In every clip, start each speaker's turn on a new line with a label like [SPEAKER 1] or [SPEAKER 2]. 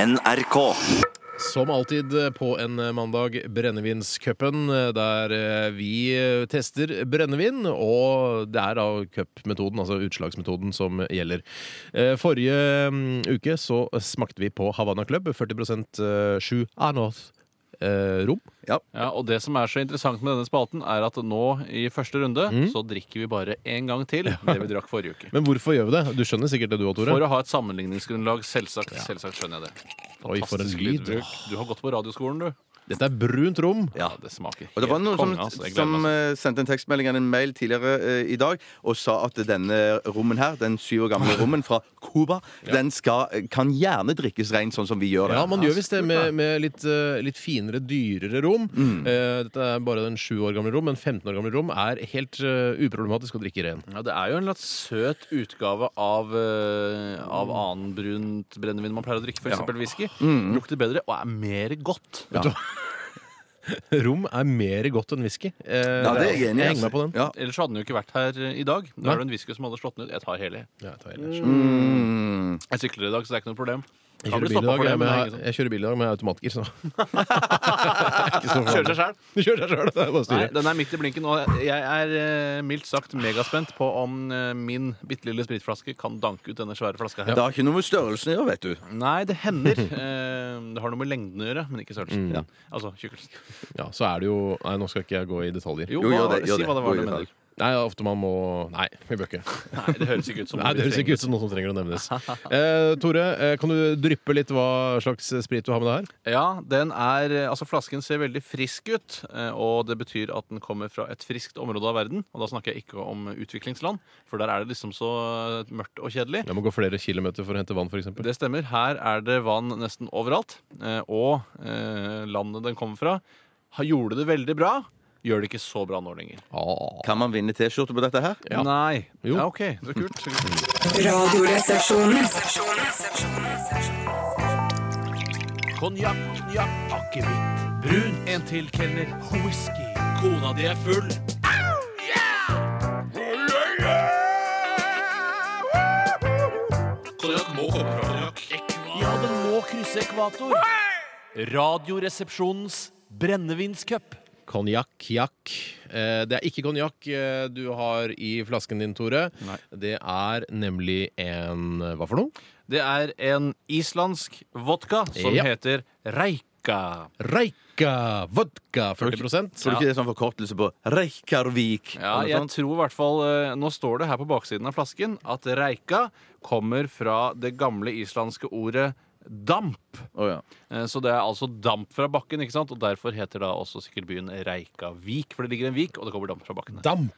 [SPEAKER 1] NRK.
[SPEAKER 2] Som alltid eh, på en mandag, Brennevinscupen, eh, der vi eh, tester brennevin. Og det er da cupmetoden, altså utslagsmetoden, som gjelder. Eh, Forrige mm, uke så smakte vi på Havanna Club, 40 sju Arnos eh, rom.
[SPEAKER 3] Ja, og det som er så interessant med denne spalten, er at nå i første runde så drikker vi bare én gang til det vi drakk forrige uke.
[SPEAKER 2] Men hvorfor gjør vi det? Du skjønner sikkert det du òg, Tore.
[SPEAKER 3] For å ha et sammenligningsgrunnlag, selvsagt. Selvsagt skjønner jeg det.
[SPEAKER 2] Oi, for en
[SPEAKER 3] Fantastisk
[SPEAKER 2] lyd.
[SPEAKER 3] lydbruk. Du har gått på radioskolen, du.
[SPEAKER 2] Dette er brunt rom.
[SPEAKER 3] Ja, det smaker
[SPEAKER 4] Og det var
[SPEAKER 3] helt
[SPEAKER 4] noen som,
[SPEAKER 3] konge, altså. Jeg gleder
[SPEAKER 4] som
[SPEAKER 3] meg.
[SPEAKER 4] eh, sendte en tekstmelding eller en mail tidligere eh, i dag og sa at denne rommen her, den syv år gamle rommen fra Cuba, den skal, eh, kan gjerne drikkes rein sånn som vi gjør det.
[SPEAKER 2] Ja, man gjør visst det med, med litt, eh, litt finere, dyrere rom. Eh, dette er bare den sju år gamle rom, men 15 år gamle rom er helt eh, uproblematisk å drikke ren.
[SPEAKER 3] Ja, det er jo en litt søt utgave av, eh, av annen brunt brennevin man pleier å drikke, f.eks. eksempel whisky. Lukter bedre og er mer godt.
[SPEAKER 2] Rom er mer godt enn whisky. Eh,
[SPEAKER 4] Ja, det er jeg enig i. altså.
[SPEAKER 2] henger meg på den.
[SPEAKER 4] Ja.
[SPEAKER 3] Ellers hadde den jo ikke vært her eh, i dag. Da
[SPEAKER 2] Nei.
[SPEAKER 3] er det en whisky som hadde slått den ut. Jeg tar hele.
[SPEAKER 2] Ja, jeg tar hele.
[SPEAKER 4] Mm.
[SPEAKER 3] Jeg sykler i dag, så det er ikke noe problem.
[SPEAKER 2] Jeg
[SPEAKER 3] Kan
[SPEAKER 2] kjører
[SPEAKER 3] bli
[SPEAKER 2] bil i
[SPEAKER 3] stoppet
[SPEAKER 2] dag,
[SPEAKER 3] for det,
[SPEAKER 2] jeg,
[SPEAKER 3] men
[SPEAKER 2] men
[SPEAKER 3] det er
[SPEAKER 2] jeg,
[SPEAKER 3] ingen som-
[SPEAKER 2] jeg kjører bil i dag med automatgir, så
[SPEAKER 3] Kjører seg selv.
[SPEAKER 2] Du kjører deg sjøl, det er bare å
[SPEAKER 3] Nei,
[SPEAKER 2] styre.
[SPEAKER 3] den er midt i blinken, og jeg er eh, mildt sagt megaspent på om eh, min bitte lille spritflaske kan danke ut denne svære flaska her.
[SPEAKER 4] Det har ikke noe med størrelsen å gjøre, vet du.
[SPEAKER 3] Nei, det hender. Eh, det har noe med lengden å gjøre, men ikke størrelsen. Ja. Altså tjukkelsen.
[SPEAKER 2] Ja, så er det jo Nei, nå skal ikke jeg gå i detaljer.
[SPEAKER 3] Jo,
[SPEAKER 4] Jo,
[SPEAKER 3] hva,
[SPEAKER 4] gjør det, gjør
[SPEAKER 3] si
[SPEAKER 4] det.
[SPEAKER 3] hva det var
[SPEAKER 4] Jo,
[SPEAKER 3] du
[SPEAKER 4] gjør
[SPEAKER 3] mener.
[SPEAKER 4] det.
[SPEAKER 2] Nei, ofte man må Nei, vi bør ikke.
[SPEAKER 3] Nei, det høres ikke ut som
[SPEAKER 2] Nei,
[SPEAKER 3] noe
[SPEAKER 2] Det
[SPEAKER 3] vi
[SPEAKER 2] høres ikke ut
[SPEAKER 3] trenger.
[SPEAKER 2] som noe som trenger å nevnes. Eh, Tore, eh, kan du dryppe litt hva slags sprit du har med deg her?
[SPEAKER 3] Ja, den er Altså, flasken ser veldig frisk ut, eh, og det betyr at den kommer fra et friskt område av verden. Og da snakker jeg ikke om utviklingsland, for der er det liksom så mørkt og kjedelig.
[SPEAKER 2] Jeg må gå flere kilometer for å hente vann, f.eks.
[SPEAKER 3] Det stemmer. Her er det vann nesten overalt. eh, Og eh, landet den kommer fra, har- gjorde det veldig bra. Gjør det ikke så bra nå lenger.
[SPEAKER 4] Kan man vinne T-skjorte på dette her?
[SPEAKER 2] Ja.
[SPEAKER 3] Nei.
[SPEAKER 2] Jo.
[SPEAKER 3] Ja, OK. Så kult.
[SPEAKER 5] Radioresepsjonen.
[SPEAKER 3] Konjakk, konjakk, akevitt, brun, en til kelner, whisky, kona di er full. Konjakk må komme fra konjakk. Ja, den må krysse ekvator. Radioresepsjonens brennevinscup.
[SPEAKER 2] Konjakk, jakk. Eh, Det er ikke konjakk eh, du har i flasken din, Tore.
[SPEAKER 3] Nei.
[SPEAKER 2] Det er nemlig en eh, Hva for noe?
[SPEAKER 3] Det er en islandsk vodka som
[SPEAKER 2] Ja.
[SPEAKER 3] heter Reika.
[SPEAKER 2] Reika vodka 40
[SPEAKER 4] Tror du ikke det er sånn forkortelse på Reykjavik?
[SPEAKER 3] Ja,
[SPEAKER 4] eller noe
[SPEAKER 3] jeg
[SPEAKER 4] sånt?
[SPEAKER 3] tror i hvert fall eh, Nå står det her på baksiden av flasken at Reika kommer fra det gamle islandske ordet damp.
[SPEAKER 4] Å, ja.
[SPEAKER 3] Eh, Så det er altså damp fra bakken, ikke sant? og derfor heter da også sikkert byen Reikavik. For det ligger en vik, og det kommer damp fra bakkene.
[SPEAKER 2] Damp!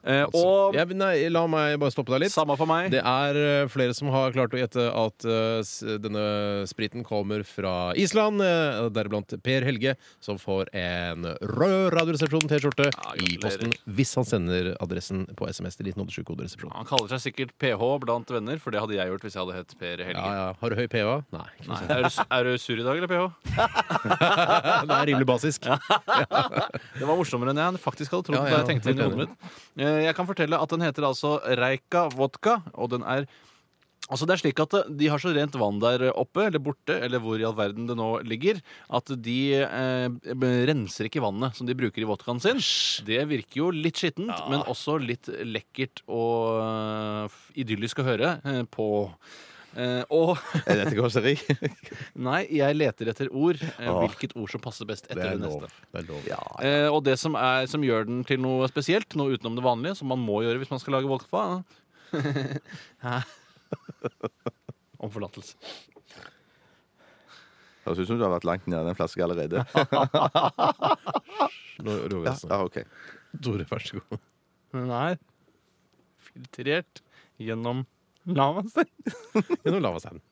[SPEAKER 3] Eh, Og
[SPEAKER 2] Ja, men nei, la meg bare stoppe deg litt.
[SPEAKER 3] samme for meg.
[SPEAKER 2] Det er eh, flere som har klart å gjette at eh, s- denne spriten kommer fra Island. eh, Deriblant Per Helge, som får en rød Radioresepsjon-T-skjorte
[SPEAKER 3] Ja,
[SPEAKER 2] i
[SPEAKER 3] gratulerer.
[SPEAKER 2] posten hvis han sender adressen på SMS til 1987 koderesepsjon.
[SPEAKER 3] Han kaller seg sikkert PH blant venner, for det hadde jeg gjort hvis jeg hadde hett Per Helge.
[SPEAKER 2] Ja, ja. Har du høy PA? Nei. ikke
[SPEAKER 3] Nei, er, du, er du sur i dag, eller PH?
[SPEAKER 2] sant. Det er rimelig basisk.
[SPEAKER 3] Det var morsommere enn jeg faktisk hadde trodd.
[SPEAKER 2] Ja,
[SPEAKER 3] da
[SPEAKER 2] ja,
[SPEAKER 3] jeg tenkte inn i
[SPEAKER 2] helt
[SPEAKER 3] hodet mitt. Eh, Jeg kan fortelle at den heter altså Reika Vodka, og den er Altså det er slik at De har så rent vann der oppe, eller borte, eller hvor i all verden det nå ligger, at de eh, b- renser ikke vannet som de bruker i vodkaen sin. Det virker jo litt skittent, men også litt lekkert og eh, f- idyllisk å høre eh, på. Eh, og
[SPEAKER 4] Er dette kåseri?
[SPEAKER 3] nei, jeg leter etter ord. eh,
[SPEAKER 4] Ah.
[SPEAKER 3] Hvilket ord som passer best
[SPEAKER 2] Det
[SPEAKER 3] etter
[SPEAKER 2] er
[SPEAKER 3] det,
[SPEAKER 2] lov.
[SPEAKER 3] neste.
[SPEAKER 2] Det er lov.
[SPEAKER 3] Eh, og det som, er, som gjør den til noe spesielt, noe utenom det vanlige, som man må gjøre hvis man skal lage vodka Hæ? Om forlatelse.
[SPEAKER 4] Høres ut som du har vært langt nede i den flasken allerede.
[SPEAKER 2] Nå roer vi oss ned.
[SPEAKER 4] Ja, ok.
[SPEAKER 2] Tore, vær så god.
[SPEAKER 3] Den er filtrert gjennom lavastein.
[SPEAKER 2] Gjennom lavasteinen.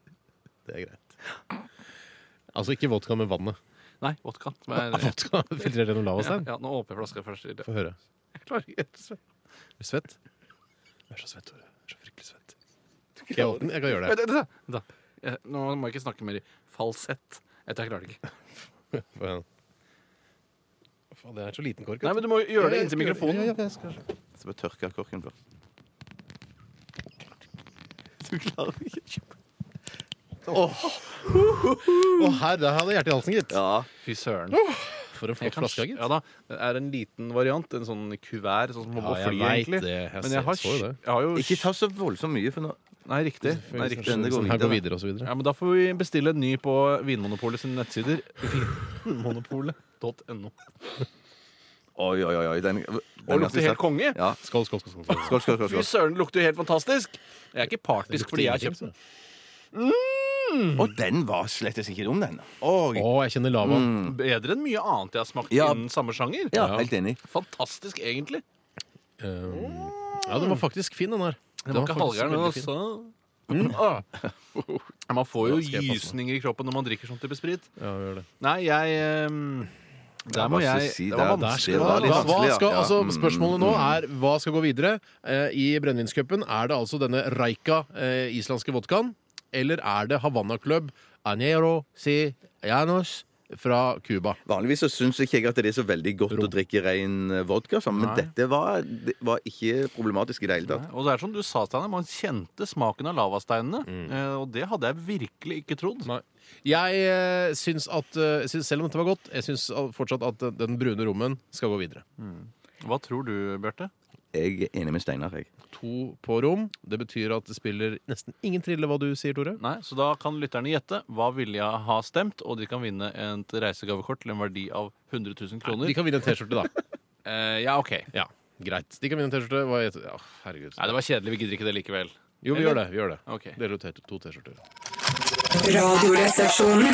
[SPEAKER 2] Det er greit. Altså ikke vodka med vannet.
[SPEAKER 3] Nei, vodka. som er-
[SPEAKER 2] Vodka filtrert gjennom
[SPEAKER 3] ja,
[SPEAKER 2] lavastein.
[SPEAKER 3] ja, nå åpner jeg flaska først. Jeg
[SPEAKER 2] Få høre.
[SPEAKER 3] klarer ikke helt svett.
[SPEAKER 2] Er du svett? Du er så svett, Tore. Du er så fryktelig svett. Skal jeg åpne? Jeg kan gjøre det.
[SPEAKER 3] Vent, vent, vent, vent, da. Eh, Nå må jeg ikke snakke mer i falsett. Jeg tror jeg klarer det ikke.
[SPEAKER 2] Få igjen. Faen, det er så liten kork.
[SPEAKER 3] Nei, men Du må gjøre det inntil mikrofonen.
[SPEAKER 4] Så bare tørker jeg korken først. Du klarer ikke
[SPEAKER 2] Å, herre, der hadde jeg hjertet i halsen, gitt.
[SPEAKER 4] Ja.
[SPEAKER 3] Fy søren.
[SPEAKER 2] For en
[SPEAKER 3] Jeg
[SPEAKER 2] flott
[SPEAKER 3] kan,
[SPEAKER 2] flaske, gitt.
[SPEAKER 3] ja da, Det er en liten variant. En sånn kuvær. Sånn som må
[SPEAKER 2] Ja,
[SPEAKER 3] gå
[SPEAKER 2] jeg
[SPEAKER 3] fly,
[SPEAKER 2] vet
[SPEAKER 3] egentlig.
[SPEAKER 2] det. Jeg
[SPEAKER 3] Men jeg har,
[SPEAKER 2] så jo det.
[SPEAKER 3] jeg har jo
[SPEAKER 4] Ikke ta så voldsomt mye, for nå
[SPEAKER 3] Nei, riktig. Nei,
[SPEAKER 2] Hvis
[SPEAKER 3] riktig.
[SPEAKER 2] den
[SPEAKER 4] det går
[SPEAKER 2] sånn her går
[SPEAKER 4] videre.
[SPEAKER 2] videre og så videre.
[SPEAKER 3] Ja, men Da får vi bestille en ny på Vinmonopolet sine nettsider. Vinmonopolet.no.
[SPEAKER 4] Oi, oi, oi. oi, Den, den
[SPEAKER 3] Og
[SPEAKER 4] ganske
[SPEAKER 3] lukter helt
[SPEAKER 4] sterk.
[SPEAKER 3] konge!
[SPEAKER 4] Ja.
[SPEAKER 2] Skål, skål, skål. skål, skål.
[SPEAKER 4] Skål, skål, skål.
[SPEAKER 3] Fy
[SPEAKER 4] skål.
[SPEAKER 3] søren, det lukter jo helt fantastisk! Jeg er ikke partisk fordi jeg har kjøpt den.
[SPEAKER 4] Og den var slettes ikke dum, den.
[SPEAKER 2] Å,
[SPEAKER 4] Oi.
[SPEAKER 2] jeg kjenner lava.
[SPEAKER 4] Mm.
[SPEAKER 3] Bedre enn mye annet jeg har smakt
[SPEAKER 4] Ja.
[SPEAKER 3] innen samme sjanger.
[SPEAKER 4] Ja, helt enig.
[SPEAKER 3] Fantastisk, egentlig.
[SPEAKER 2] Um, ja, den var faktisk fin, den her.
[SPEAKER 3] Den var ikke
[SPEAKER 2] faktisk
[SPEAKER 3] halvgæren, men
[SPEAKER 2] veldig Mm. fin.
[SPEAKER 3] altså Ah. Ja, Man får jo
[SPEAKER 2] Da skal jeg passe
[SPEAKER 3] gysninger i kroppen når man drikker sånt type sprit.
[SPEAKER 2] Ja, vi gjør det.
[SPEAKER 3] Nei, jeg ehm, Der må
[SPEAKER 4] hva skal
[SPEAKER 3] jeg
[SPEAKER 4] jeg si?
[SPEAKER 3] Det var
[SPEAKER 4] Mm. Det er-
[SPEAKER 3] vanskelig.
[SPEAKER 4] det
[SPEAKER 3] Det
[SPEAKER 4] var
[SPEAKER 3] var
[SPEAKER 4] litt
[SPEAKER 2] Hva, hva
[SPEAKER 3] vanskelig.
[SPEAKER 4] vanskelig, ja.
[SPEAKER 2] skal,
[SPEAKER 4] Ja,
[SPEAKER 2] altså,
[SPEAKER 4] mm,
[SPEAKER 2] spørsmålet nå er hva skal gå videre. Eh, I brennevinscupen er det altså denne Reika eh, islandske vodkaen, eller er det Havanna Club Anero Si Janos fra Cuba?
[SPEAKER 4] Vanligvis så syns ikke jeg at det er så veldig godt å drikke ren vodka sammen, men
[SPEAKER 3] Nei.
[SPEAKER 4] dette var, det var ikke problematisk i det hele tatt.
[SPEAKER 3] Og det er som du sa, Steinar, man kjente smaken av lavasteinene. eh, Og det hadde jeg virkelig ikke trodd.
[SPEAKER 2] Jeg eh, syns at eh, syns- Selv om dette var godt, jeg syns al- fortsatt at den- den brune rommen skal gå videre.
[SPEAKER 3] Hva tror du, Bjarte?
[SPEAKER 4] Jeg er enig med Steinar, jeg.
[SPEAKER 2] To på rom. Det betyr at det spiller nesten ingen trille hva du sier, Tore.
[SPEAKER 3] Nei, så da kan lytterne gjette. Hva ville jeg ha stemt? Og de kan vinne et reisegavekort til en verdi av 100 000 kroner.
[SPEAKER 2] De kan vinne en T-skjorte, da.
[SPEAKER 3] Eh, ja, OK.
[SPEAKER 2] Ja, greit. De kan vinne en T-skjorte. Hva heter- Ja, herregud.
[SPEAKER 3] Nei, det var kjedelig. Vi gidder ikke det likevel.
[SPEAKER 2] Jo, vi
[SPEAKER 3] Eller?
[SPEAKER 2] gjør det. Vi gjør det.
[SPEAKER 3] Ok.
[SPEAKER 2] Deler ut t- to T-skjorter.
[SPEAKER 5] Radioresepsjonen.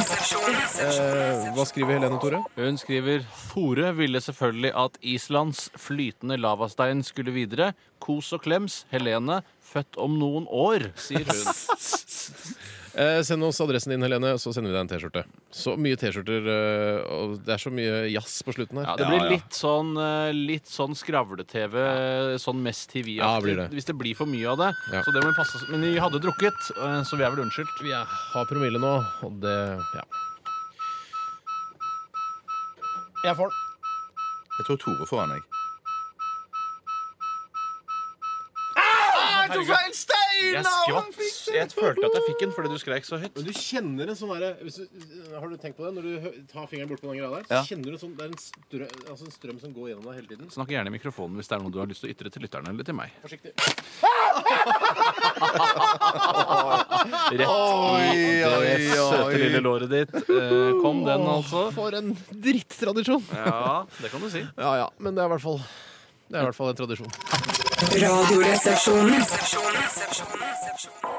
[SPEAKER 2] Eh, hva skriver Helene Tore?
[SPEAKER 3] Hun skriver Tore ville selvfølgelig at Islands flytende lavastein skulle videre. Kos og klems. Helene, født om noen år, sier hun.
[SPEAKER 2] Eh, send oss adressen din, Helene, så sender vi deg en T-skjorte. Så mye T-skjorter, eh, og det er så mye jazz på slutten her.
[SPEAKER 3] Ja, det blir litt sånn, eh, litt sånn skravle-TV, sånn mest
[SPEAKER 2] Ja,
[SPEAKER 3] TV-aktig.
[SPEAKER 2] blir det.
[SPEAKER 3] Hvis det blir for mye av det.
[SPEAKER 2] Ja.
[SPEAKER 3] Så det må vi passe oss- Men vi hadde drukket, eh, så vi er vel unnskyldt.
[SPEAKER 2] Vi er- har promille nå, og det Ja. Jeg får den.
[SPEAKER 4] Jeg tror Tore får han, jeg.
[SPEAKER 3] Jeg skvatt. Jeg følte at jeg fikk den fordi du skreik så høyt.
[SPEAKER 2] Men du kjenner en sånn derre hvis du- eh, Har du tenkt på det? Når du hø- tar fingeren bort på den greia der, så
[SPEAKER 4] Ja.
[SPEAKER 2] kjenner du en sånn, det er en, strø, altså en strøm som går gjennom deg hele tiden.
[SPEAKER 3] Snakk gjerne i mikrofonen hvis det er noe du har lyst til å ytre til lytterne eller til meg.
[SPEAKER 2] Forsiktig.
[SPEAKER 3] Rett i det søte lille låret ditt. Eh, Kom den, altså.
[SPEAKER 2] For en drittradisjon!
[SPEAKER 3] Ja, det kan du si.
[SPEAKER 2] Ja ja, men det er i hvert fall Det er i hvert fall en tradisjon.
[SPEAKER 5] Radioresepsjonen.